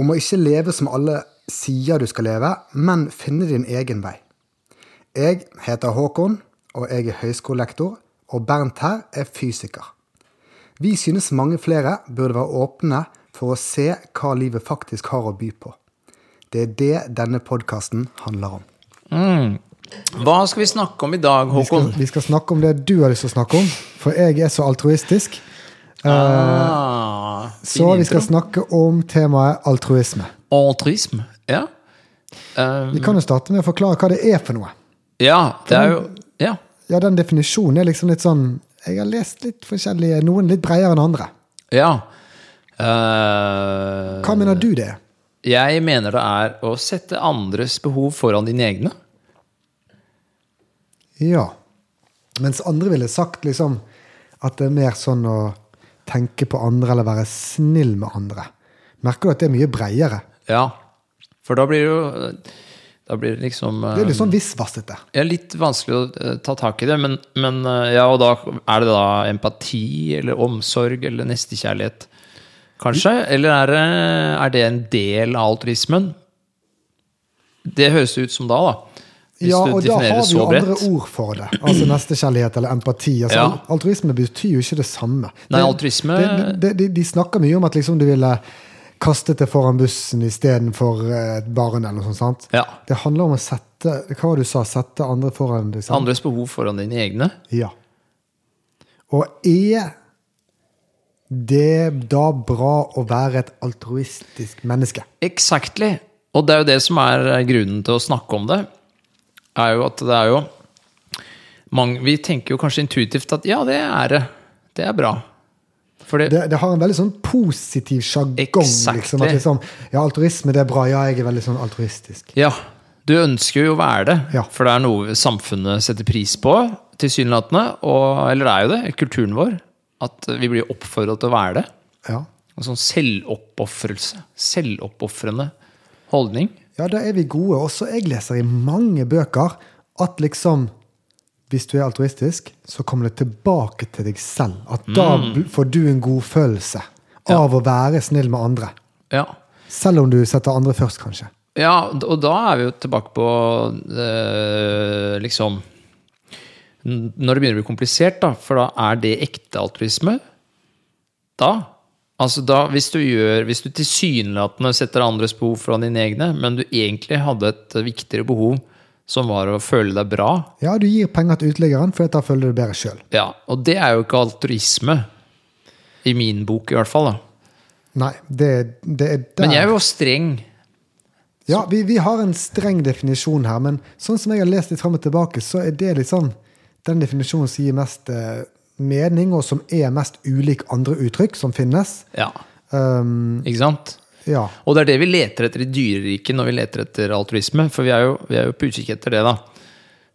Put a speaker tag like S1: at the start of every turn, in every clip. S1: Om å ikke leve som alle sier du skal leve, men finne din egen vei. Jeg heter Håkon, og jeg er høyskolelektor, og Bernt her er fysiker. Vi synes mange flere burde være åpne for å se hva livet faktisk har å by på. Det er det denne podkasten handler om.
S2: Hva skal vi snakke om i dag, Håkon?
S1: Vi skal snakke om det du har lyst til å snakke om, for jeg er så altruistisk.
S2: Ah,
S1: Eh, Så vi skal snakke om temaet altruisme.
S2: Altruisme. Ja. Eh,
S1: Vi kan jo starte med å forklare hva det er for noe.
S2: ja, det er jo Ja.
S1: Ja, den definisjonen er liksom litt sånn Jeg har lest litt forskjellige, noen litt bredere enn andre.
S2: ja. Eh,
S1: Hva mener du det er?
S2: jeg mener det er å sette andres behov foran dine egne.
S1: Ja. Mens andre ville sagt liksom at det er mer sånn å tenke på andre eller være snill med andre. Merker du at det er mye bredere?
S2: Ja. For da blir det jo eh, Da blir det liksom eh,
S1: Det er litt sånn visvassete.
S2: ja, litt vanskelig å eh, ta tak i det, men, men eh, ja, og da er det da empati eller omsorg eller nestekjærlighet, kanskje? Eller er det, er det en del av altruismen? Det høres ut som da, da. Hvis
S1: Ja,
S2: du
S1: og da
S2: definerer
S1: har
S2: det
S1: vi
S2: så
S1: jo andre
S2: bredt.
S1: ord for det. Altså nestekjærlighet eller empati. Altså,
S2: Ja.
S1: Altruisme betyr jo ikke det samme.
S2: Nei,
S1: Det-
S2: altruisme-
S1: det- det- De, de snakker mye om at liksom du ville kastet det foran bussen istedenfor et barn eh, eller noe sånt. sant?
S2: Ja.
S1: Det handler om å sette Hva var det du sa? Sette andre foran deg selv?
S2: Andres behov foran dine egne.
S1: Ja. Og er det da bra å være et altruistisk menneske?
S2: Exactly. Og det er jo det som er eh, grunnen til å snakke om det. Er jo at det er jo mange, Vi tenker jo kanskje intuitivt at ja, det er det. Det er bra. For det,
S1: Det, det har en veldig sånn positiv sjargong.
S2: Exactly.
S1: Liksom, at liksom, ja, altruisme det er bra. Ja, jeg er veldig sånn altruistisk.
S2: Ja, du ønsker jo å være det,
S1: Ja.
S2: for det er noe samfunnet setter pris på, tilsynelatende. Og, eller det er jo det, kulturen vår. At vi blir oppfordret til å være det.
S1: Ja.
S2: En sånn selvoppofrelse. Selvoppofrende holdning.
S1: ja, da er vi gode. Også jeg leser i mange bøker at liksom hvis du er altruistisk, så kommer det tilbake til deg selv. At da
S2: Mm.
S1: bl- får du en god følelse av å være snill med andre.
S2: Ja.
S1: Selv om du setter andre først, kanskje.
S2: ja, og da er vi jo tilbake på eh, liksom n- Når det begynner å bli komplisert, da, for da er det ekte altruisme. Da. Altså da, hvis du gjør Hvis du tilsynelatende setter andres behov foran dine egne, men du egentlig hadde et viktigere behov, som var å føle deg bra,
S1: Ja, du gir penger til uteliggeren, for da føler du deg bedre sjøl.
S2: ja, og det er jo ikke altruisme. I min bok, i hvert fall. da.
S1: Nei, det, det er der
S2: Men jeg er jo streng.
S1: Ja, vi, vi har en streng definisjon her, men sånn som jeg har lest litt frem og tilbake, så er det liksom den definisjonen som gir mest eh, mening, og som er mest ulik andre uttrykk som finnes.
S2: Ja,
S1: Um,
S2: ikke sant?
S1: ja.
S2: Og det er det vi leter etter i dyreriket når vi leter etter altruisme. For vi er jo, vi er jo på utkikk etter det, da.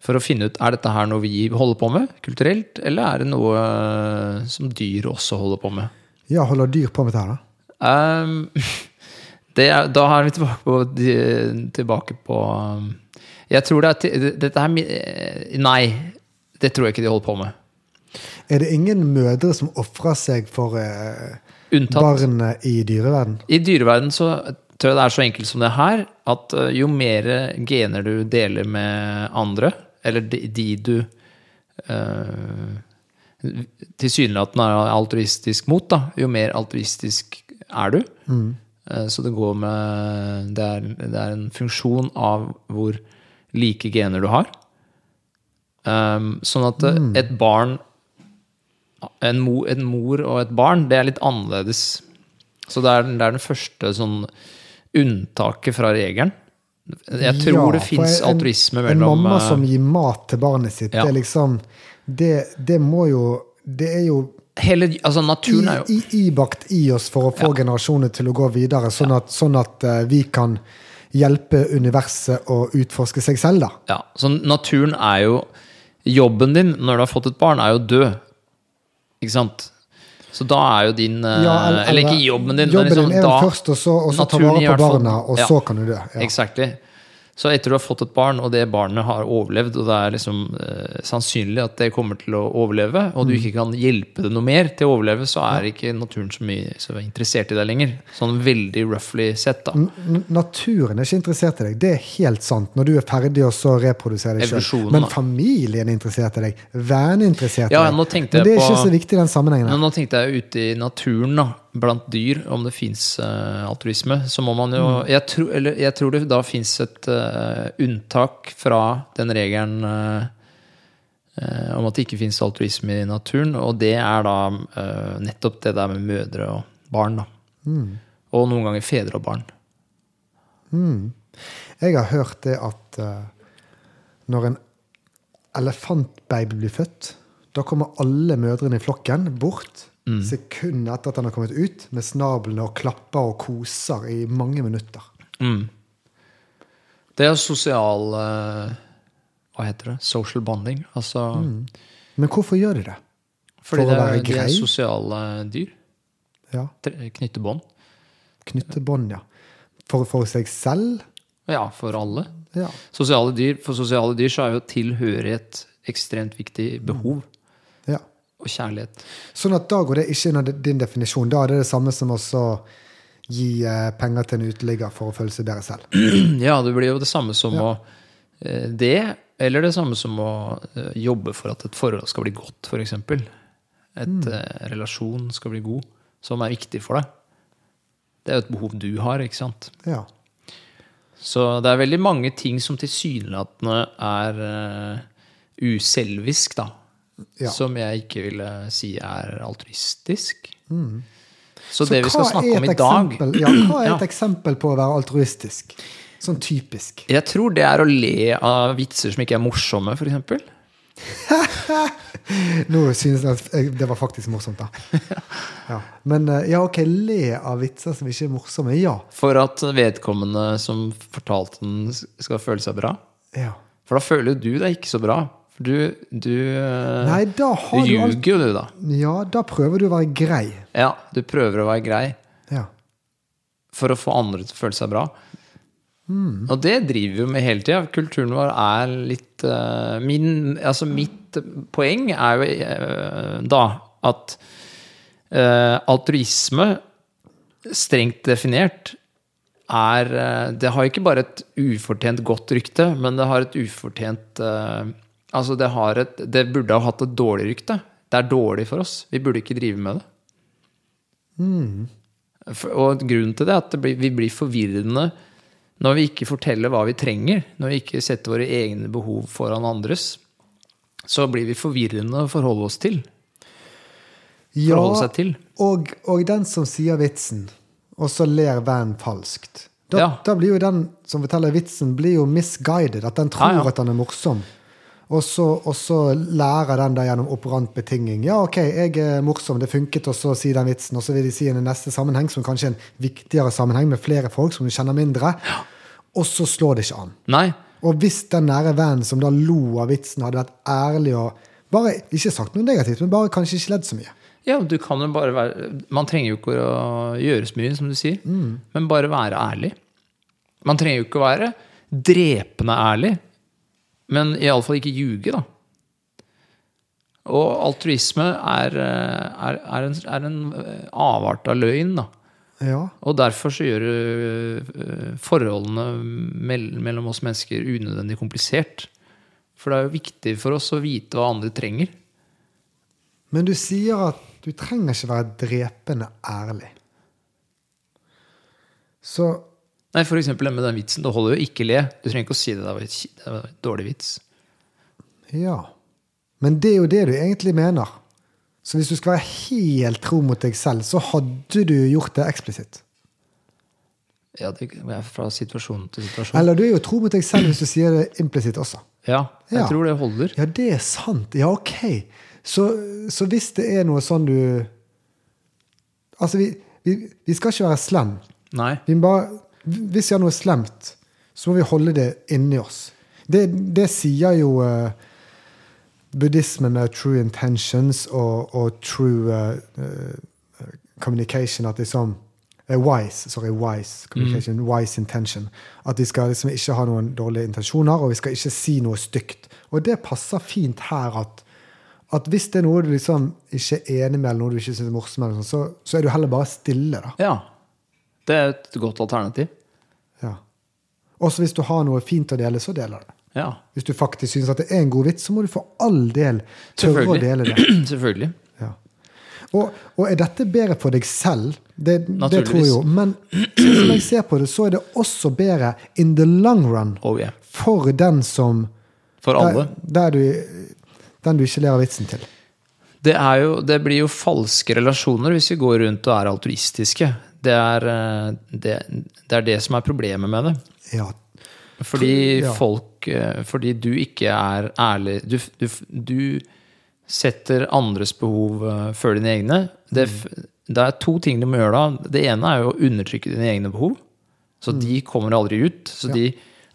S2: For å finne ut er dette her noe vi holder på med kulturelt, eller er det noe eh, som dyr også holder på med.
S1: ja, holder dyr på med dette her, da?
S2: Ehm, det er, da er vi tilbake på, de- tilbake på um, Jeg tror det er til- Dette her mi- eh, Nei, det tror jeg ikke de holder på med.
S1: Er det ingen mødre som ofrer seg for eh,
S2: Unntatt
S1: barn i dyreverden?
S2: I dyreverden så tror jeg det er så enkelt som det her, at eh, jo mer gener du deler med andre, eller de, de du eh, tilsynelatende er altruistisk mot, da, jo mer altruistisk er du. Eh, så det går med det er, det er en funksjon av hvor like gener du har. Um, sånn at eh,
S1: Mm.
S2: et barn en, mo, en mor og et barn, det er litt annerledes. Så det er, den- det er den første sånn unntaket fra regelen. Jeg tror
S1: Ja,
S2: det
S1: for
S2: fins
S1: en-
S2: altruisme mellom
S1: En mamma
S2: eh,
S1: som gir mat til barnet sitt,
S2: Ja.
S1: det er liksom det, det må jo Det er jo
S2: hele, altså naturen er jo
S1: I, i, ibakt i oss for å få generasjoner til å gå videre, sånn at, sånn at eh, vi kan hjelpe universet å utforske seg selv, da.
S2: Ja, så naturen er jo Jobben din når du har fått et barn, er jo å dø. Ikke sant? Så da er jo din eh,
S1: Ja, eller-
S2: Eller ikke jobben din,
S1: Jobben
S2: men liksom
S1: din er jo
S2: da
S1: først, og så- og så ta
S2: naturen
S1: vare
S2: i
S1: på
S2: hvert fall-
S1: barna, og så kan du dø, ja.
S2: Exactly. Så etter du har fått et barn, og det barnet har overlevd, og det er liksom eh, sannsynlig at det kommer til å overleve, og du ikke kan hjelpe det noe mer til å overleve, så er ikke naturen så mye så interessert i deg lenger. Sånn veldig roughly sett, da.
S1: N- n- Naturen er ikke interessert i deg. Det er helt sant. Når du er ferdig og så reproduserer deg selv
S2: Evolusjonen,
S1: Men
S2: da.
S1: familien er interessert i deg. Vennene er interessert i
S2: Ja,
S1: deg.
S2: nå tenkte
S1: Men
S2: jeg
S1: det er
S2: på-
S1: ikke så viktig i den sammenhengen. her.
S2: Men nå tenkte jeg ute i naturen, da, blant dyr, om det fins altruisme, så må man jo
S1: Mm.
S2: jeg, tror, eller, jeg tror det da fins et eh, unntak fra den regelen eh, eh, om at det ikke fins altruisme i naturen, og det er da eh, nettopp det der med mødre og barn, da.
S1: Mm,
S2: Og noen ganger fedre og barn.
S1: mm. Jeg har hørt det at eh, når en elefantbaby blir født, da kommer alle mødrene i flokken bort
S2: Mm.
S1: sekundet etter at den har kommet ut, med snablene og klapper og koser i mange minutter.
S2: Mm. Det er sosial eh, Hva heter det? Social bonding. Altså
S1: Men hvorfor gjør de det? Mm. For
S2: fordi
S1: å
S2: det er,
S1: være
S2: de
S1: grei?
S2: er sosiale dyr.
S1: Ja,
S2: tre- Knytte bånd.
S1: Knytte bånd, ja. For, for seg selv?
S2: Ja, for alle.
S1: Ja.
S2: Sosiale dyr, for sosiale dyr så er jo tilhørighet ekstremt viktig behov
S1: ja.
S2: og kjærlighet.
S1: Sånn at da går det ikke under din definisjon. Da er det det samme som også gi eh, penger til en uteligger for å føle seg bedre selv.
S2: Ja, det blir jo det samme som å eh, Det, eller det samme som å eh, jobbe for at et forhold skal bli godt, f.eks. Et eh, relasjon skal bli god, som er viktig for deg. Det er jo et behov du har, ikke sant.
S1: Ja.
S2: Så det er veldig mange ting som tilsynelatende er eh, uselvisk, da.
S1: Ja.
S2: Som jeg ikke ville si er altruistisk. Så,
S1: Mm. Så
S2: det vi skal
S1: hva
S2: snakke
S1: er
S2: om
S1: et
S2: i dag
S1: Eksempel, ja, hva er
S2: Ja.
S1: et eksempel på å være altruistisk? Sånn typisk.
S2: Jeg tror det er å le av vitser som ikke er morsomme, f.eks.
S1: Nå synes jeg at jeg- det var faktisk morsomt, da. Ja. Men eh, ja, ok, le av vitser som ikke er morsomme. Ja.
S2: For at vedkommende som fortalte den, skal føle seg bra.
S1: ja.
S2: For da føler jo du deg ikke så bra. For du, du eh,
S1: Nei, da
S2: Du
S1: har du alt
S2: ljuger jo, du, da.
S1: Ja, da prøver du å være grei.
S2: Ja, du prøver å være grei.
S1: Ja.
S2: for å få andre til å føle seg bra. Og det driver vi jo med hele tida. Kulturen vår er litt eh, min, altså Mitt poeng er jo eh, da at eh, altruisme, strengt definert, er eh, Det har ikke bare et ufortjent godt rykte, men det har et ufortjent eh, Altså, det, har et, det burde ha hatt et dårlig rykte. Det er dårlig for oss. Vi burde ikke drive med det. For- Og grunnen til det er at det blir, vi blir forvirrende når vi ikke forteller hva vi trenger. Når vi ikke setter våre egne behov foran andres. Så blir vi forvirrende å forholde oss til.
S1: Ja,
S2: Forholde seg til.
S1: Og, og den som sier vitsen, og så ler vennen falskt. Da,
S2: Ja.
S1: da blir jo den som forteller vitsen, blir jo misguided. At den tror
S2: Ja, ja.
S1: at den er morsom. Og så, og så lærer den deg gjennom operant betinging. Ja, OK, jeg er morsom, det funket, og så si den vitsen. Og så vil de si den i neste sammenheng, som kanskje er en viktigere sammenheng med flere folk som du kjenner mindre. Og så slår det ikke an.
S2: Nei.
S1: Og hvis den nære vennen som da lo av vitsen, hadde vært ærlig og bare ikke sagt noe negativt, men bare kanskje ikke ledd så mye.
S2: Ja, du kan jo bare være Man trenger jo ikke å gjøre så mye, som du sier. Men bare være ærlig. Man trenger jo ikke å være drepende ærlig. Men iallfall ikke ljuge, da. Og altruisme er, eh, er, er, en, er en eh, avart av løgn, da.
S1: Ja.
S2: Og derfor så gjør det eh, forholdene mell mellom oss mennesker unødvendig komplisert. For det er jo viktig for oss å vite hva andre trenger.
S1: Men du sier at du trenger ikke være drepende ærlig. Så
S2: Nei, for eksempel med den vitsen. Det holder jo ikke å le. Du trenger ikke å si det. Det var, et, ki- det var et dårlig vits.
S1: ja. Men det er jo det du egentlig mener. Så hvis du skal være helt tro mot deg selv, så hadde du gjort det eksplisitt.
S2: Ja, det er fra situasjon til situasjon.
S1: Eller du er jo tro mot deg selv hvis du sier det implisitt også.
S2: Ja, jeg
S1: Ja.
S2: tror det holder.
S1: Ja, det er sant. Ja, ok. Så, så hvis det er noe sånn du Altså, vi, vi, vi skal ikke være slem.
S2: Nei.
S1: Vi må bare, hvis vi har noe slemt, så må vi holde det inni oss. Det, det sier jo eh, buddhismen med true intentions og, og true eh, eh, communication at liksom eh, Wise, sorry, wise communication, wise intention. At vi skal liksom ikke ha noen dårlige intensjoner, og vi skal ikke si noe stygt. Og det passer fint her at, at hvis det er noe du liksom ikke er enig med, eller noe du ikke syns er morsomt, eller noe sånt, så, så er du heller bare stille, da.
S2: Ja. Det er et godt alternativ.
S1: Ja. Også hvis du har noe fint å dele, så deler det.
S2: Ja.
S1: Hvis du faktisk syns at det er en god vits, så må du for all del tørre å dele det.
S2: Selvfølgelig.
S1: Ja. Og, og er dette bedre for deg selv? Det, det tror jeg
S2: Naturligvis.
S1: jo. Men sånn som jeg ser på det, så er det også bedre in the long run
S2: Oh yeah.
S1: for den som
S2: For alle.
S1: Der, der du, den du ikke ler av vitsen til.
S2: Det, er jo, det blir jo falske relasjoner hvis vi går rundt og er altruistiske. Det er eh, det, det, er det som er problemet med det.
S1: Ja.
S2: Fordi
S1: Ja.
S2: folk eh, Fordi du ikke er ærlig Du, du, du setter andres behov eh, før dine egne. Det, f- det er to ting du må gjøre da. Det ene er jo å undertrykke dine egne behov. Så de kommer aldri ut. Så de,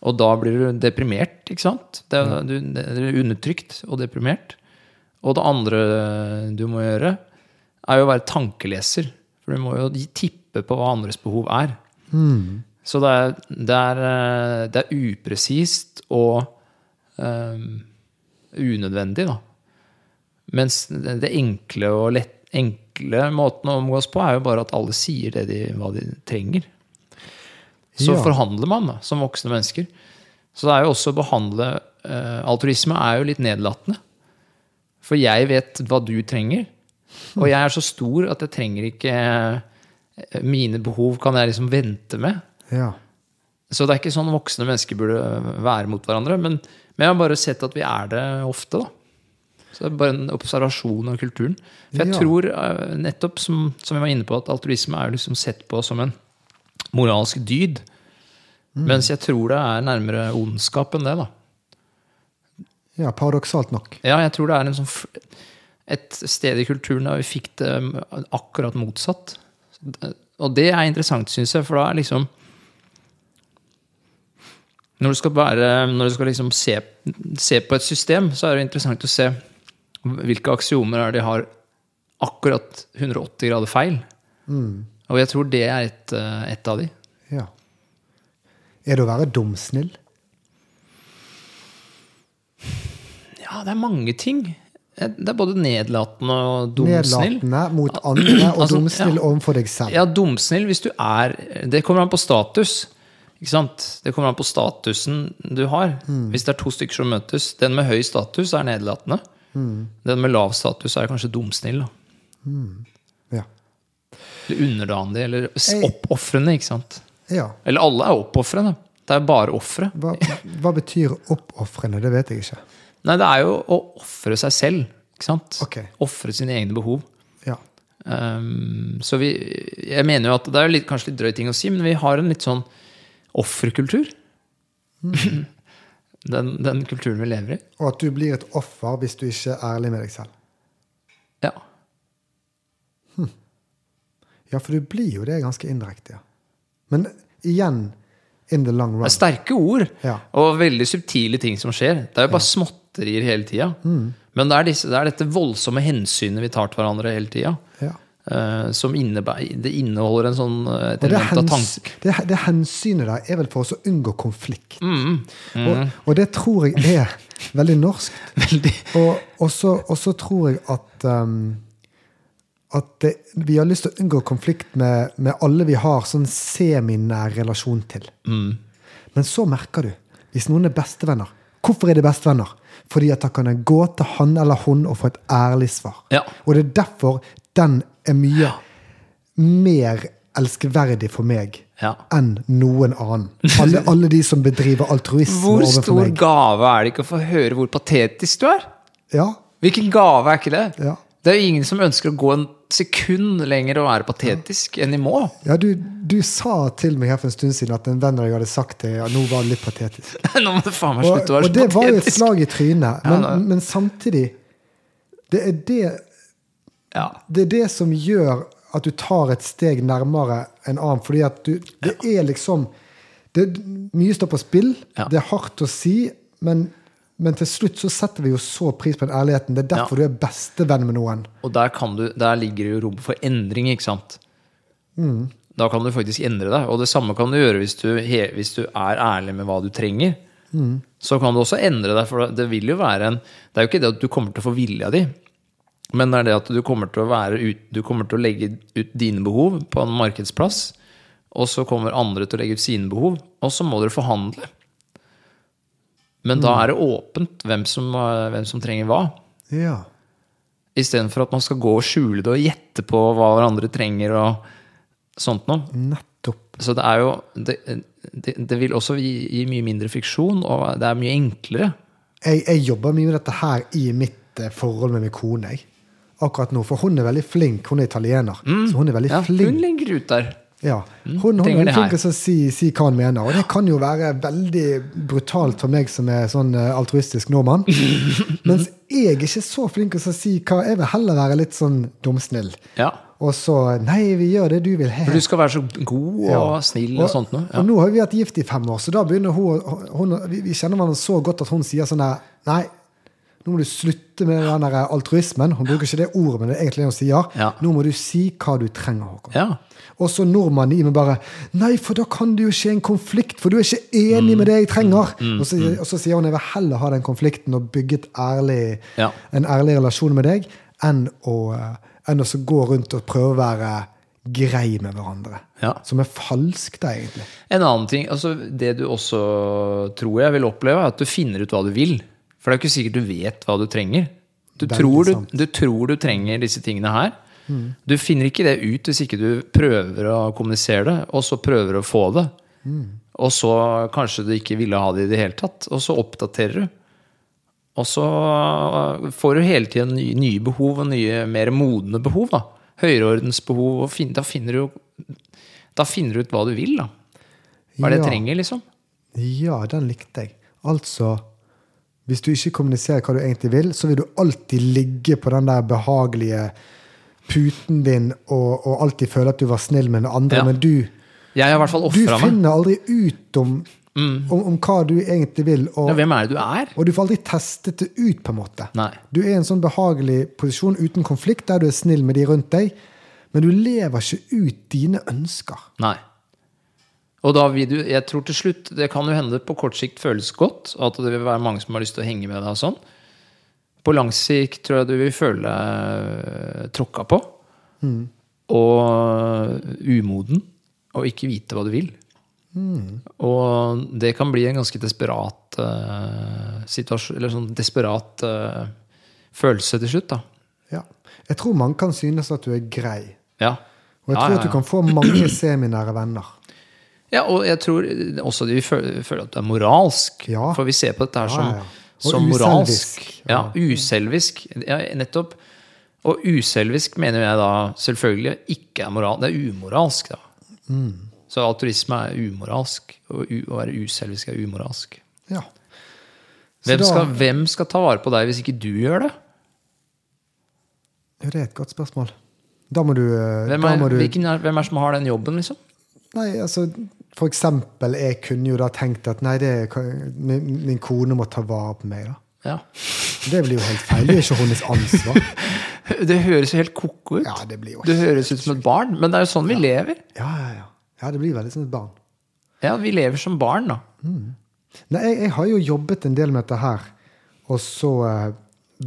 S2: og da blir du deprimert, ikke sant? Det, er- du, det er undertrykt og deprimert. Og det andre eh, du må gjøre, er jo å være tankeleser. For du må jo tippe på hva andres behov er.
S1: Hmm.
S2: Så det er, det er, eh, det er upresist og eh, unødvendig, da. Mens det det enkle og lett, enkle måten å omgås på er jo bare at alle sier det de, hva de trenger. Så
S1: Ja.
S2: forhandler man da, som voksne mennesker. Så det er jo også å behandle eh, Altruisme er jo litt nedlatende. For jeg vet hva du trenger. Og jeg er så stor at jeg trenger ikke eh, Mine behov kan jeg liksom vente med.
S1: ja.
S2: Så det er ikke sånn voksne mennesker burde være mot hverandre. Men, men jeg har bare sett at vi er det ofte, da. Så det er bare en observasjon av kulturen. For jeg
S1: Ja.
S2: tror eh, nettopp, som, som jeg var inne på, at altruisme er jo liksom sett på som en moralsk dyd. Mens jeg tror det er nærmere ondskap enn det, da.
S1: ja paradoksalt nok.
S2: Ja, jeg tror det er en sånn f- et sted i kulturen der vi fikk det um, akkurat motsatt. Og det er interessant, syns jeg, for da er liksom Når du skal, bare, når du skal liksom se, se på et system, så er det interessant å se hvilke aksiomer er det de har akkurat 180 grader feil. Og jeg tror det er et, eh, et av de.
S1: Ja. Er det å være dumsnill?
S2: Ja, det er mange ting. Det er både nedlatende og dumsnill.
S1: Nedlatende mot andre og
S2: Altså,
S1: dumsnill
S2: ja.
S1: overfor deg selv.
S2: Ja, dumsnill hvis du er Det kommer an på status. Ikke sant? Det kommer an på statusen du har. Hvis det er to stykker som møtes. Den med høy status er nedlatende. Den med lav status er kanskje dumsnill. da.
S1: Ja.
S2: Eller underdanig, eller s-
S1: Jeg-
S2: oppofrende, ikke sant.
S1: ja.
S2: Eller alle er oppofrende. Det er bare ofre.
S1: Hva, hva betyr oppofrende? Det vet jeg ikke.
S2: Nei, det er jo å ofre seg selv. Ikke sant?
S1: Ok.
S2: Ofre sine egne behov.
S1: Ja.
S2: Um, så vi Jeg mener jo at det er jo litt, kanskje litt drøy ting å si, men vi har en litt sånn offerkultur.
S1: Mm.
S2: den, den kulturen vi lever i.
S1: Og at du blir et offer hvis du ikke er ærlig med deg selv.
S2: Ja.
S1: Ja, for du blir jo det ganske indirekte. Ja. Men igjen, in the long
S2: Det
S1: run.
S2: er sterke ord
S1: Ja.
S2: og veldig subtile ting som skjer. Det er jo bare småtterier hele tida.
S1: Mm.
S2: Men det er, disse, det er dette voldsomme hensynet vi tar til hverandre hele tida.
S1: Ja.
S2: eh, som innebærer, det inneholder en sånn, eh, et
S1: Og det,
S2: element av
S1: hens,
S2: tanke.
S1: det, det hensynet der er vel for oss å unngå konflikt.
S2: Mm.
S1: Og, og det tror jeg er veldig norskt.
S2: Veldig.
S1: Og, og, så, og så tror jeg at um, at det, vi har lyst til å unngå konflikt med, med alle vi har sånn seminær relasjon til.
S2: Mm.
S1: Men så merker du, hvis noen er bestevenner Hvorfor er de bestevenner? Fordi at da kan en gå til han eller hun og få et ærlig svar.
S2: Ja.
S1: Og det er derfor den er mye mer elskeverdig for meg
S2: Ja.
S1: enn noen annen. Alle, alle de som bedriver altruisme
S2: Hvor
S1: overfor
S2: stor
S1: meg.
S2: gave er det ikke å få høre hvor patetisk du er?
S1: Ja,
S2: Hvilken gave er ikke det?
S1: Ja.
S2: Det er jo ingen som ønsker å gå en sekund lenger og være patetisk enn de må.
S1: Ja, du, du sa til meg her for en stund siden at en venn av deg hadde sagt det, og nå var det litt patetisk.
S2: Nå må du faen meg
S1: Og,
S2: slutte å være
S1: og det
S2: så
S1: var jo et
S2: patetisk.
S1: slag i trynet, men,
S2: Ja, da.
S1: men samtidig det er det,
S2: Ja.
S1: det er det som gjør at du tar et steg nærmere en annen, fordi at du Det er liksom det, Mye står på spill,
S2: Ja.
S1: det er hardt å si, men, men til slutt så setter vi jo så pris på den ærligheten. Det er derfor du er bestevenn med noen.
S2: Og der, kan du, der ligger det jo rom for endring, ikke sant? Da kan du faktisk endre deg. Og det samme kan du gjøre hvis du, he- hvis du er ærlig med hva du trenger. Så kan du også endre deg, for det vil jo være en Det er jo ikke det at du kommer til å få vilja di, men det er det at du kommer til å, være ut, du kommer til å legge ut dine behov på en markedsplass, og så kommer andre til å legge ut sine behov, og så må dere forhandle. Men da er det åpent hvem som, eh, hvem som trenger hva.
S1: Ja.
S2: Istedenfor at man skal gå og skjule det og gjette på hva hverandre trenger og sånt noe.
S1: Nettopp.
S2: Så det er jo Det, det, det vil også gi, gi mye mindre friksjon, og det er mye enklere.
S1: Jeg, jeg jobber mye med dette her i mitt eh, forhold med min kone. Jeg. Akkurat nå, For hun er veldig flink. Hun er italiener. Så hun er veldig
S2: Mm. Ja,
S1: flink.
S2: hun legger ut der.
S1: Ja. Hun, hun
S2: trenger
S1: er
S2: det
S1: flink
S2: her.
S1: til å si, si hva han mener. Og det kan jo være veldig brutalt for meg som er sånn eh, altruistisk nordmann. Mens jeg er ikke så flink til å si hva Jeg vil heller være litt sånn dumsnill.
S2: Ja.
S1: Og så 'Nei, vi gjør det du vil'. he-he».
S2: For du skal være så god og
S1: Ja.
S2: snill og, sånt noe. Ja.
S1: og nå har vi vært gift i fem år, så da begynner hun, hun Vi vi kjenner hverandre så godt at hun sier sånn der Nei, nå må du slutte med den der altruismen. Hun bruker ikke det ordet, men det er egentlig det hun sier.
S2: Ja.
S1: Nå må du si hva du trenger, Håkon.
S2: Ja.
S1: Og så nordmannen i meg bare Nei, for da kan det jo skje en konflikt, for du er ikke enig med det jeg trenger.
S2: Mm,
S1: og, så, og så sier hun jeg vil heller ha den konflikten og bygge et ærlig,
S2: Ja.
S1: en ærlig relasjon med deg enn å, eh, enn å så gå rundt og prøve å være grei med hverandre.
S2: Ja.
S1: Som er falskt, da, egentlig.
S2: En annen ting altså Det du også tror jeg vil oppleve, er at du finner ut hva du vil. For det er jo ikke sikkert du vet hva du trenger. Du,
S1: Veldig
S2: tror du,
S1: sant.
S2: du tror du trenger disse tingene her. Du finner ikke det ut hvis ikke du prøver å kommunisere det, og så prøver å få det. Og så kanskje du ikke ville ha det i det hele tatt, og så oppdaterer du. Og så øh, får du hele tiden nye, nye behov og nye, mer modne behov. da. Høyreordensbehov. Og fin, da, finner du, jo- da finner du ut hva du vil, da. Hva er det jeg
S1: Ja.
S2: trenger, liksom?
S1: Ja, den likte jeg. Altså Hvis du ikke kommuniserer hva du egentlig vil, så vil du alltid ligge på den der behagelige puten din og, og alltid føle at du var snill med den andre,
S2: Ja.
S1: men du
S2: Jeg har i hvert fall
S1: Du
S2: ofra meg. Mm.
S1: finner aldri ut om, om, om hva du egentlig vil,
S2: Ja,
S1: og,
S2: hvem er det du er?
S1: og du får aldri testet det ut, på en måte.
S2: Nei.
S1: Du er i en sånn behagelig posisjon uten konflikt, der du er snill med de rundt deg, men du lever ikke ut dine ønsker.
S2: Nei. Og da vil du, jeg tror til slutt, det kan jo hende på kort sikt føles godt, og at det vil være mange som har lyst til å henge med deg og sånn. På lang sikt tror jeg du vil føle deg tråkka på. Og umoden. Og ikke vite hva du vil. Og det kan bli en ganske desperat eh, situasjon, eller sånn desperat eh, følelse til slutt, da.
S1: Ja. Jeg tror man kan synes at du er grei,
S2: Ja.
S1: og jeg
S2: Ja,
S1: tror
S2: ja,
S1: at
S2: ja.
S1: du kan få mange seminære venner.
S2: Ja, og jeg tror også de føler, føler at det er moralsk.
S1: Ja.
S2: For vi ser på dette her
S1: Ja,
S2: som,
S1: ja, ja. Og
S2: som moralsk.
S1: uselvisk.
S2: Ja, uselvisk. Ja, nettopp. Og uselvisk mener jeg da selvfølgelig ikke er moral. Det er umoralsk, da.
S1: Mm.
S2: Så altruisme er umoralsk. Og u, å være uselvisk er umoralsk.
S1: Ja. Så
S2: Hvem
S1: da-
S2: skal, hvem skal ta vare på deg hvis ikke du gjør det?
S1: Ja, det er et godt spørsmål. Da må du, eh,
S2: Hvem
S1: da
S2: er,
S1: må du
S2: hvilken er, hvem er det som har den jobben, liksom?
S1: Nei, altså, for eksempel, jeg kunne jo da tenkt at nei, det, kan- min, min kone må ta vare på meg, da.
S2: Ja.
S1: Det blir jo helt feil. Det er ikke hennes ansvar.
S2: Det høres jo helt ko-ko ut.
S1: Ja, det blir jo
S2: Du høres ut som et barn, men det er jo sånn vi lever.
S1: Ja, ja, ja. ja det blir veldig som et barn.
S2: Ja, vi lever som barn, da.
S1: Nei, jeg, jeg har jo jobbet en del med dette her. Og så eh,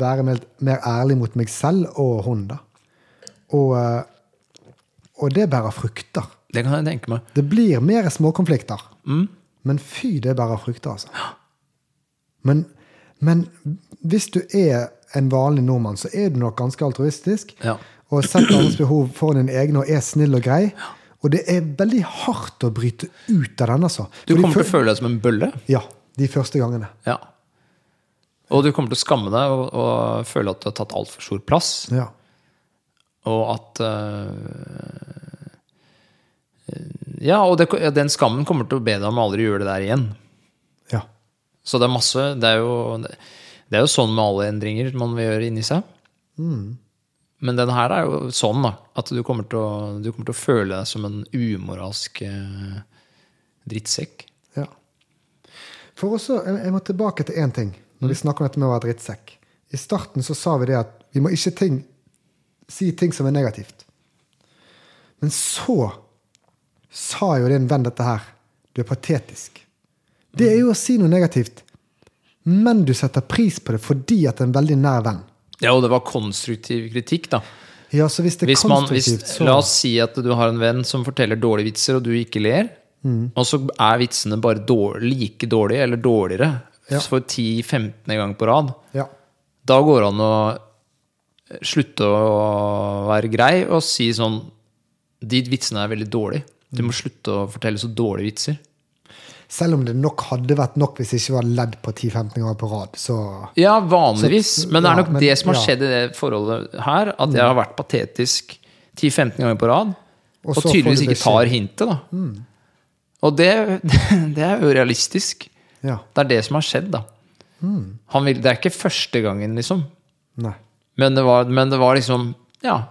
S1: være mer, mer ærlig mot meg selv og hun, da. Og, eh, og det bærer frukter.
S2: Det kan jeg tenke meg.
S1: Det blir mer småkonflikter.
S2: Mm.
S1: Men fy, det bærer frukter, altså. Men, men hvis du er en vanlig nordmann, så er du nok ganske altruistisk.
S2: Ja.
S1: Og setter andres behov foran din egen og er snill og grei. Og det er veldig hardt å bryte ut av den, altså. For
S2: Du
S1: de
S2: kommer
S1: fø-
S2: til å føle deg som en bølle.
S1: Ja, de første gangene.
S2: Ja. Og du kommer til å skamme deg og, og føle at du har tatt altfor stor plass.
S1: Ja.
S2: Og at eh, Ja, og det, ja, den skammen kommer til å be deg om å aldri gjøre det der igjen.
S1: Ja.
S2: Så det er masse Det er jo, det er jo sånn med alle endringer man vil gjøre inni seg. Men den her er jo sånn da, at du kommer til å, du kommer til å føle deg som en umoralsk eh, drittsekk.
S1: ja. For også, jeg, jeg må tilbake til én ting når
S2: Mm.
S1: vi snakker om dette med å være drittsekk. I starten så sa vi det at vi må ikke ting, si ting som er negativt. Men så sa jo din venn dette her. Du er patetisk. Det
S2: Mm.
S1: er jo å si noe negativt, men du setter pris på det fordi at det er en veldig nær venn.
S2: Ja, og det var konstruktiv kritikk, da.
S1: Ja, så hvis det er
S2: Hvis man, hvis,
S1: konstruktivt, så
S2: la oss si at du har en venn som forteller dårlige vitser, og du ikke ler.
S1: Mm.
S2: Og så er vitsene bare dår- like dårlige, eller dårligere,
S1: Ja.
S2: for 10-15 gang på rad.
S1: ja.
S2: Da går det an å slutte å være grei og si sånn De vitsene er veldig dårlige. Du må
S1: Mm.
S2: slutte å fortelle så dårlige vitser.
S1: Selv om det nok hadde vært nok hvis det ikke var ledd på 10-15 ganger på rad. Så
S2: Ja, vanligvis.
S1: Så-
S2: Men det er
S1: ja,
S2: nok
S1: men-
S2: det som har
S1: ja.
S2: skjedd i det forholdet her, at jeg har vært patetisk 10-15 ganger på rad,
S1: Og
S2: og,
S1: så får
S2: tydeligvis
S1: du Mm.
S2: ikke
S1: beskjed.
S2: tar hintet, da. Og det, det er jo realistisk.
S1: ja.
S2: Det er det som har skjedd, da.
S1: Mm.
S2: Han vil, det er ikke første gangen, liksom.
S1: Nei.
S2: Men det var, men det var liksom ja,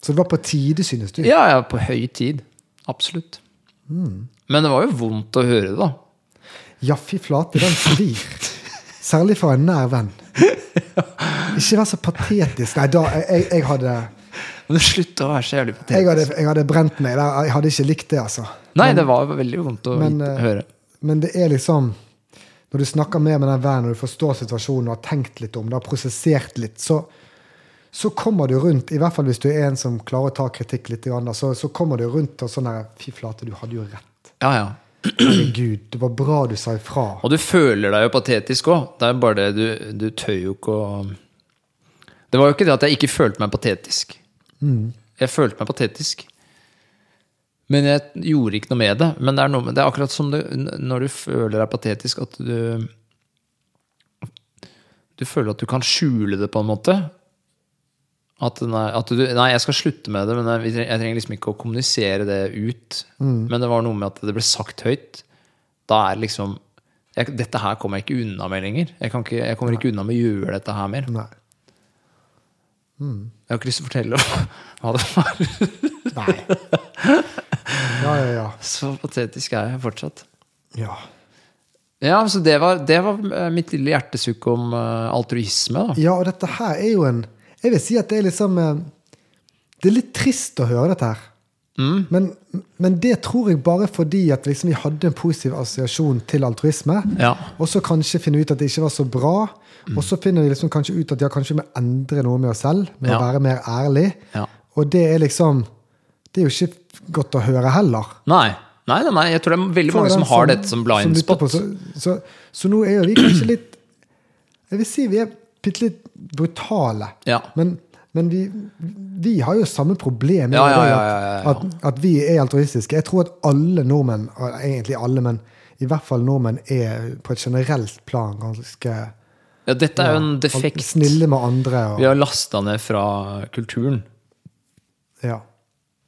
S1: Så det var på tide, synes du?
S2: ja, ja, på høy tid. Absolutt.
S1: Mm.
S2: Men det var jo vondt å høre det, da.
S1: Ja, fy flate, den svir. Særlig fra en nær venn. Ikke vær så patetisk. Nei, da, jeg, jeg, hadde,
S2: Men slutt å være så jævlig patetisk.
S1: jeg, hadde, jeg hadde brent meg der. Jeg hadde ikke likt det, altså.
S2: Nei, det var veldig vondt å
S1: Men,
S2: vite-
S1: eh,
S2: høre.
S1: Men det er liksom Når du snakker mer med den vennen, og du forstår situasjonen og har tenkt litt om det, har prosessert litt, så, så kommer du rundt I hvert fall hvis du er en som klarer å ta kritikk litt, grann, da, så, så kommer du rundt og sånn der Fy flate, du hadde jo rett.
S2: Ja, ja.
S1: Herregud, det var bra du sa ifra.
S2: Og du føler deg jo patetisk òg. Det er bare det du, du tør jo ikke å Det var jo ikke det at jeg ikke følte meg patetisk. Jeg følte meg patetisk. Men jeg gjorde ikke noe med det. Men det er, noe med, det er akkurat som du, n- når du føler deg patetisk, at du Du føler at du kan skjule det på en måte. At, den er- at du Nei, jeg skal slutte med det, men jeg, vi treng- jeg trenger liksom ikke å kommunisere det ut. Men det var noe med at det ble sagt høyt. Da er det liksom jeg, Dette her kommer jeg ikke unna med lenger. Jeg, kan ikke, jeg kommer ikke unna med å gjøre dette her mer.
S1: Nei.
S2: Jeg har ikke lyst til å fortelle hva det var.
S1: Nei. Ja, ja, ja.
S2: Så patetisk er jeg fortsatt.
S1: Ja,
S2: Ja, så det var, det var eh, mitt lille hjertesukk om eh, altruisme, da.
S1: ja og dette her er jo en Jeg vil si at det er liksom eh, Det er litt trist å høre dette her.
S2: Mm.
S1: Men, men det tror jeg bare fordi at liksom vi hadde en positiv assosiasjon til altruisme.
S2: Ja. Mm.
S1: Og så kanskje finne ut at det ikke var så bra. Og så finner vi liksom kanskje ut at ja, kanskje vi må endre noe med oss selv. Med å
S2: Ja.
S1: være mer ærlig.
S2: Ja.
S1: Og det er liksom Det er jo ikke godt å høre heller.
S2: Nei. Nei, nei, nei, jeg tror det er veldig
S1: for
S2: mange som
S1: den
S2: har dette som
S1: som
S2: blind
S1: lytter
S2: spot.
S1: på, Så, så, så nå er jo vi kanskje litt Jeg vil si vi er bitte litt brutale.
S2: Ja.
S1: Men, men vi, vi har jo samme problem.
S2: Ja,
S1: i det
S2: ja, ja, ja, ja, ja.
S1: At, at vi er altruistiske. Jeg tror at alle nordmenn, og egentlig alle, men i hvert fall nordmenn, er på et generelt plan ganske
S2: Ja, dette er jo en defekt
S1: snille med andre.
S2: vi
S1: Og,
S2: har lasta ned fra kulturen.
S1: ja.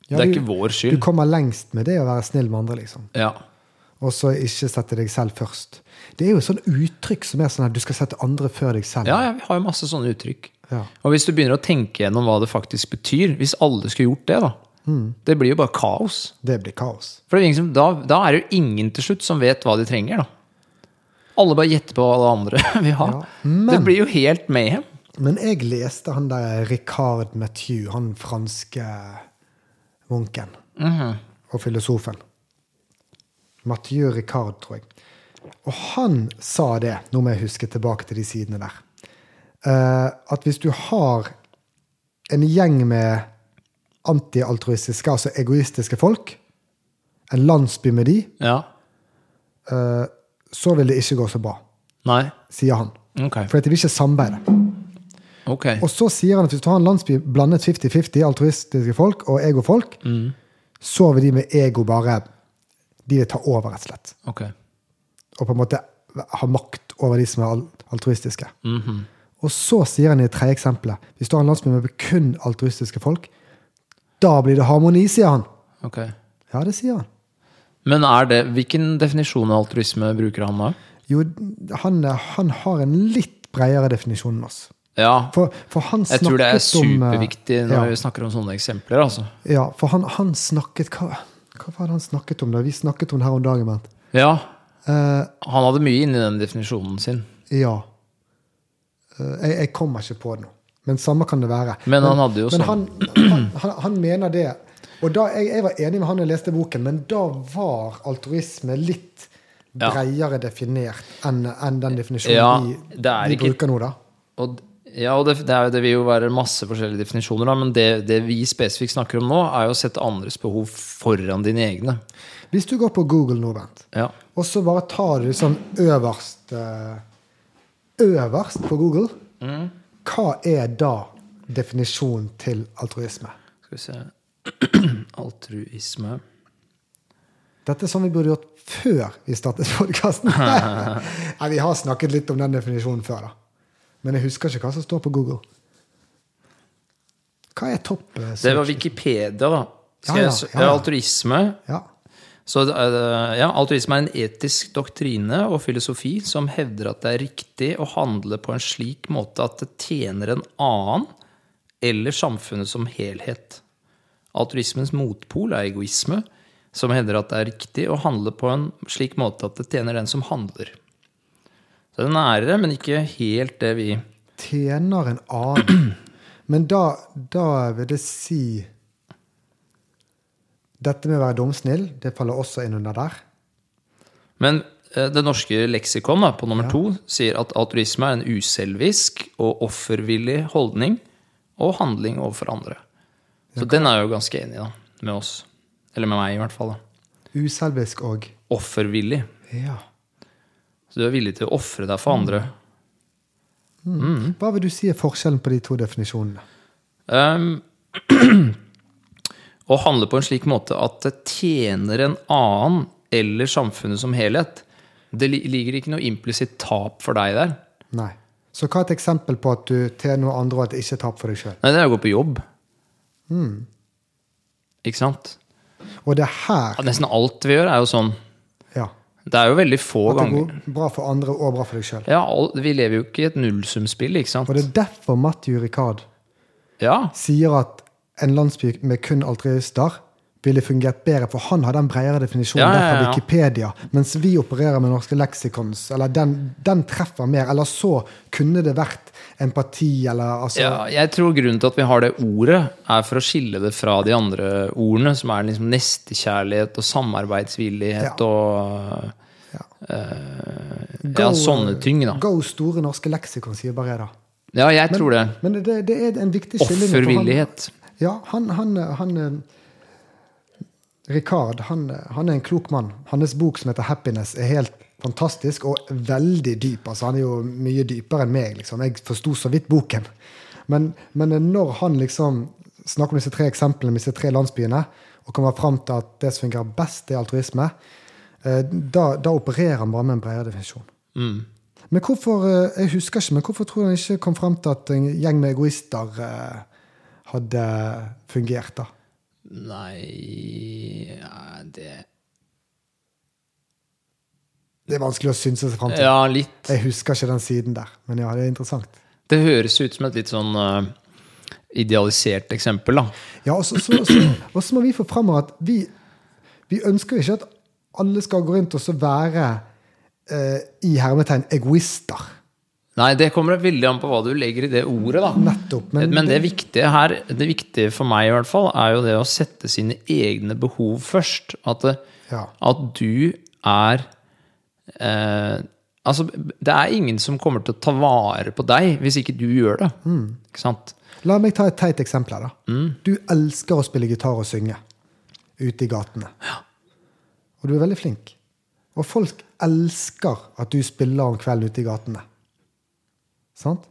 S1: Ja,
S2: Det er
S1: du-
S2: ikke vår
S1: Du
S2: skyld.
S1: kommer lengst med det å være snill med andre, liksom.
S2: Ja.
S1: Og så ikke sette deg selv først. Det er jo et sånt uttrykk som er sånn at du skal sette andre før deg selv.
S2: Ja, ja, vi har jo masse sånne uttrykk.
S1: Ja.
S2: Og hvis du begynner å tenke gjennom hva det faktisk betyr, hvis alle skulle gjort det, da,
S1: Mm.
S2: det blir jo bare kaos.
S1: Det blir kaos.
S2: For det er ingen som, da, da er det jo ingen til slutt som vet hva de trenger, da. Alle bare gjetter på hva alle andre vil ha.
S1: Ja, men-
S2: Det blir jo helt mayhem.
S1: Men jeg leste han der Ricard Mathieu, han franske munken og filosofen. Mathieu Ricard, tror jeg. Og han sa det, nå må jeg huske tilbake til de sidene der, eh, at hvis du har en gjeng med antialtruistiske, altså egoistiske folk, en landsby med de,
S2: Ja.
S1: eh, så vil det ikke gå så bra,
S2: Nei.
S1: sier han.
S2: Ok.
S1: For at de vil ikke samarbeide.
S2: Ok.
S1: Og så sier han at hvis du har en landsby blandet 50-50, altruistiske folk og egofolk,
S2: Mm.
S1: så vil de med ego bare De vil ta over, rett og slett.
S2: Ok.
S1: Og på en måte ha makt over de som er al- altruistiske.
S2: Mhm.
S1: Og så sier han i det tredje eksempelet hvis du har en landsby med kun altruistiske folk, Da blir det harmoni, sier han.
S2: Ok.
S1: Ja, det sier han.
S2: Men er det, hvilken definisjon av altruisme bruker han da?
S1: Jo, han, han har en litt bredere definisjon enn oss.
S2: Ja,
S1: For, for han
S2: jeg tror det er
S1: snakket om, eh,
S2: superviktig når
S1: ja.
S2: vi snakker om sånne eksempler, altså.
S1: Ja, for han, han snakket hva, hva var det han snakket om? da? Vi snakket om det her om dagen, Bent.
S2: Ja,
S1: Eh,
S2: han hadde mye inni den definisjonen sin.
S1: ja. Eh, jeg, jeg kommer ikke på det nå. Men samme kan det være.
S2: Men han hadde jo
S1: men
S2: sånn.
S1: han, han, han, han mener det. Og da, jeg, jeg var enig med han da jeg leste boken, men da var altruisme litt
S2: Ja.
S1: bredere definert enn enn den definisjonen
S2: Ja,
S1: vi,
S2: det er
S1: vi
S2: ikke-
S1: bruker nå, da.
S2: Og, ja, og det, det, er, jo- det vil jo være masse forskjellige definisjoner, da, men det, det vi spesifikt snakker om nå, er jo å sette andres behov foran dine egne.
S1: Hvis du går på Google nå, Bent,
S2: Ja.
S1: og så bare tar du sånn øverst eh, Øverst på Google,
S2: Mm.
S1: hva er da definisjonen til altruisme?
S2: Skal vi se Altruisme
S1: Dette er sånn vi burde gjort før vi startet podkasten. Nei, vi har snakket litt om den definisjonen før, da. Men jeg husker ikke hva som står på Google. Hva er topp? eh,
S2: Det var
S1: søk-
S2: Wikipedia, da. Skal
S1: Ja, ja,
S2: jeg-
S1: ja, ja.
S2: Altruisme
S1: Ja.
S2: Så eh, ja, altruisme er en etisk doktrine og filosofi som hevder at det er riktig å handle på en slik måte at det tjener en annen eller samfunnet som helhet. Altruismens motpol er egoisme, som hevder at det er riktig å handle på en slik måte at det tjener den som handler. Så det er nærere, men ikke helt det vi
S1: Tjener en annen. Men da, da vil det si Dette med å være dumsnill, det faller også inn under der.
S2: Men eh, det norske leksikon da, på nummer to sier at altruisme er en uselvisk og offervillig holdning og handling overfor andre. Så den er jeg jo ganske enig i da, med oss. Eller med meg i hvert fall. da.
S1: Uselvisk og
S2: Offervillig.
S1: Ja.
S2: Så du er villig til å ofre deg for andre.
S1: Mm. Hva vil du si er forskjellen på de to definisjonene?
S2: Um, og handle på en slik måte at det tjener en annen eller samfunnet som helhet. Det li- ligger ikke noe implisitt tap for deg der.
S1: Nei. Så hva er et eksempel på at du tjener noe andre, og at det ikke er tap for deg sjøl?
S2: Nei, det er å gå på jobb.
S1: Hmm.
S2: Ikke sant?
S1: Og det er her
S2: Ja, nesten alt vi gjør, er jo sånn.
S1: ja,
S2: Det er jo veldig få
S1: at det
S2: ganger.
S1: går bra for andre og bra for deg sjøl.
S2: Ja, all, Vi lever jo ikke i et nullsumspill, ikke sant?
S1: Og det er derfor Matthew Ricard
S2: Ja,
S1: sier at en landsby med kun altruister ville fungert bedre, for han har den bredere definisjonen
S2: Ja, ja,
S1: der
S2: ja.
S1: fra Wikipedia, mens vi opererer med norske leksikons, eller den, den treffer mer, eller så kunne det vært empati, eller altså
S2: ja, jeg tror grunnen til at vi har det ordet, er for å skille det fra de andre ordene, som er liksom nestekjærlighet og samarbeidsvillighet
S1: Ja.
S2: og
S1: Ja.
S2: eh, Ja, sånne ting, da.
S1: Go Store norske leksikon, sier bare jeg da.
S2: Ja, jeg tror det.
S1: Men det, det er en viktig skillelinje. for han-
S2: Offervillighet.
S1: Ja, han, han, han eh, Ricard, han, han er en klok mann. Hans bok som heter 'Happiness', er helt fantastisk og veldig dyp. Altså, han er jo mye dypere enn meg. Liksom. Jeg forsto så vidt boken. Men, men når han liksom snakker om disse tre eksemplene med disse tre landsbyene, og kommer fram til at det som fungerer best, er altruisme, eh, da, da opererer han bare med en bredere definisjon. Men hvorfor eh, jeg husker ikke, men hvorfor tror du han ikke kom frem til at en gjeng med egoister eh, hadde fungert? da?
S2: Nei ja, det
S1: Det er vanskelig å synse seg frem til.
S2: Ja, litt.
S1: Jeg husker ikke den siden der, men ja, det er interessant.
S2: Det høres ut som et litt sånn eh, idealisert eksempel, da.
S1: Ja, Og så, så, så, og så må vi få fremover at vi, vi ønsker ikke at alle skal gå rundt og så være eh, i hermetegn egoister.
S2: Nei, det kommer veldig an på hva du legger i det ordet, da.
S1: Nettopp.
S2: Men,
S1: Men,
S2: det viktige her, det viktige for meg i hvert fall, er jo det å sette sine egne behov først. At, det,
S1: Ja.
S2: at du er eh, Altså, det er ingen som kommer til å ta vare på deg hvis ikke du gjør det. Ikke sant?
S1: La meg ta et teit eksempel her, da. Du elsker å spille gitar og synge ute i gatene. Og du er veldig flink. Og folk elsker at du spiller om kvelden ute i gatene. Sant?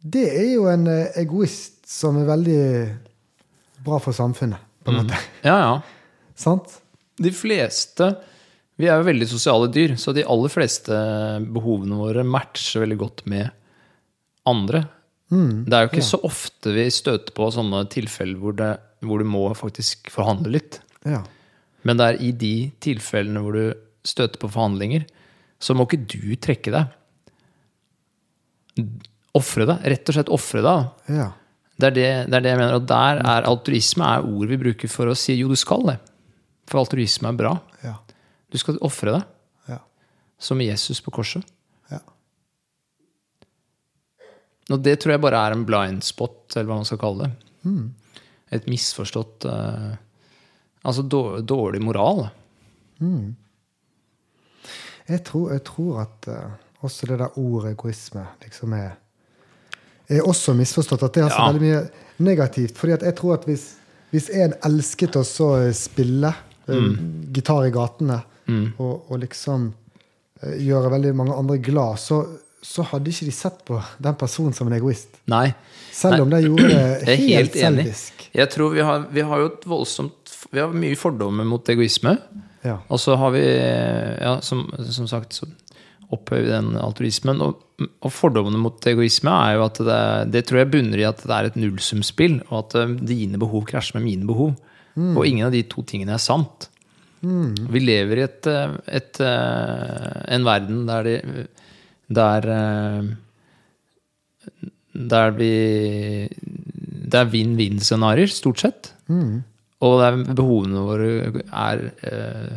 S1: Det er jo en eh, egoist som er veldig bra for samfunnet, på en måte.
S2: Ja, ja.
S1: Sant?
S2: De fleste Vi er jo veldig sosiale dyr, så de aller fleste behovene våre matcher veldig godt med andre. det er jo ikke så ofte vi støter på sånne tilfeller hvor, det, hvor du må faktisk forhandle litt.
S1: Ja.
S2: Men det er i de tilfellene hvor du støter på forhandlinger, så må ikke du trekke deg. Ofre deg. Rett og slett ofre deg. da.
S1: ja.
S2: Det er det, det er det jeg mener. Og der er altruisme er ord vi bruker for å si jo, du skal det. For altruisme er bra.
S1: Ja.
S2: Du skal ofre deg,
S1: Ja.
S2: som Jesus på korset.
S1: Ja.
S2: Og det tror jeg bare er en blind spot, eller hva man skal kalle det. Et misforstått eh, Altså dår- dårlig moral.
S1: Jeg tror, jeg tror at eh, også det der ordet egoisme liksom er er også misforstått. At det har så
S2: Ja.
S1: veldig mye negativt. fordi at jeg tror at hvis, hvis en elsket oss å spille eh,
S2: Mm.
S1: gitar i gatene og, og liksom eh, gjøre veldig mange andre glad, så, så hadde ikke de sett på den personen som en egoist.
S2: Nei.
S1: Selv om de gjorde
S2: Jeg
S1: det
S2: er
S1: helt
S2: helt enig.
S1: selvisk.
S2: Jeg tror vi har, vi har jo et voldsomt Vi har mye fordommer mot egoisme.
S1: Ja.
S2: Og så har vi, ja, som, som sagt, så opphøyer vi den altruismen. Og, og fordommene mot egoisme er jo at det, det tror jeg bunner i at det er et nullsumspill, og at eh, dine behov krasjer med mine behov. Og ingen av de to tingene er sant.
S1: Mm,
S2: Vi lever i et, eh, et, eh, en verden der, de, der eh, der vi Det er vinn-vinn-scenarioer, stort sett.
S1: mm.
S2: Og det er behovene våre er eh,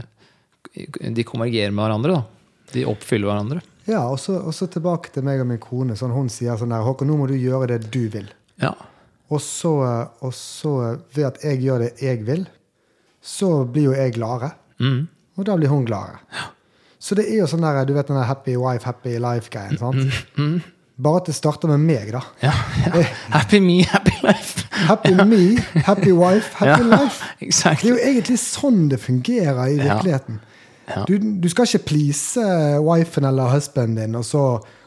S2: De konvergerer med hverandre, da. De oppfyller hverandre.
S1: Ja, og så, og så tilbake til meg og min kone. sånn Hun sier sånn der 'Håkon, nå må du gjøre det du vil'.
S2: Ja.
S1: Og så, og så ved at jeg gjør det jeg vil, så blir jo jeg gladere.
S2: Mm.
S1: Og da blir hun gladere. Så det er jo sånn der, du vet den der happy wife, happy life-greien. sant? Bare at det starter med meg, da.
S2: ja, ja. Happy me, happy life.
S1: Happy me, happy wife, happy
S2: Ja,
S1: life.
S2: exakt.
S1: Det er jo egentlig sånn det fungerer i
S2: Ja.
S1: virkeligheten.
S2: Ja.
S1: Du, du skal ikke please eh, wifen eller husbanden din, og så,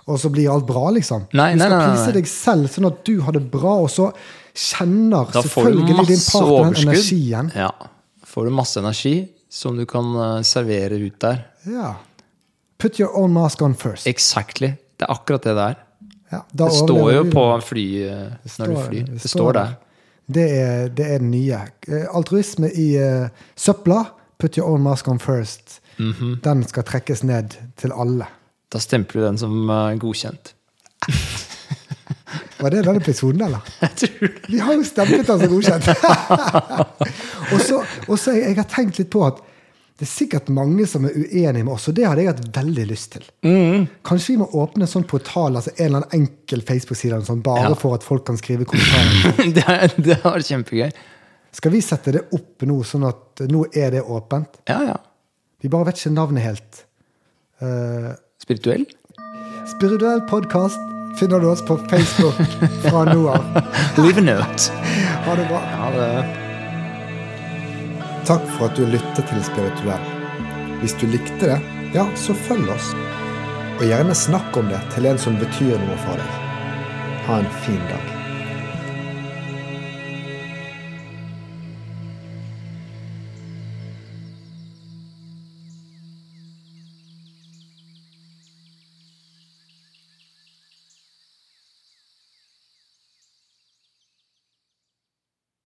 S1: og så blir alt bra, liksom.
S2: Nei,
S1: du skal
S2: nei, nei, nei, nei.
S1: please deg selv, sånn at du har det bra, og så kjenner
S2: Da får du
S1: selvfølgelig din
S2: masse
S1: partner den
S2: overskudd.
S1: energien.
S2: Ja. Får du masse energi som du kan eh, servere ut der.
S1: Ja. Put your own mask on first.
S2: Exactly. Det er akkurat det det er.
S1: Ja, da
S2: Det står
S1: overlever
S2: jo
S1: du.
S2: på fly eh, når du flyr. Det står der.
S1: Det er det, er det nye. Eh, Altruisme i eh, søpla, put your own mask on first,
S2: Mhm.
S1: den skal trekkes ned til alle.
S2: Da stempler du den som eh, godkjent.
S1: Var det den episoden, eller?
S2: Jeg tror det.
S1: Vi har jo stemplet den som godkjent! og så, og så jeg, jeg har tenkt litt på at det er sikkert mange som er uenige med oss, og det hadde jeg hatt veldig lyst til.
S2: Mm.
S1: Kanskje vi må åpne en sånn portal, altså en eller annen enkel Facebook-side, eller noe sånt, bare
S2: Ja.
S1: for at folk kan skrive kommentarer.
S2: Det er- Det har vært kjempegøy.
S1: Skal vi sette det opp nå, sånn at nå er det åpent?
S2: Ja, ja.
S1: Vi bare vet ikke navnet helt. Eh,
S2: Spirituell?
S1: Spirituell podkast finner du oss på Facebook fra nå av.
S2: Live nøt.
S1: Ha det bra.
S2: Ja, det
S1: Takk for at du lyttet til Spirituell. Hvis du likte det, ja, så følg oss. Og gjerne snakk om det til en som betyr noe for deg. Ha en fin dag.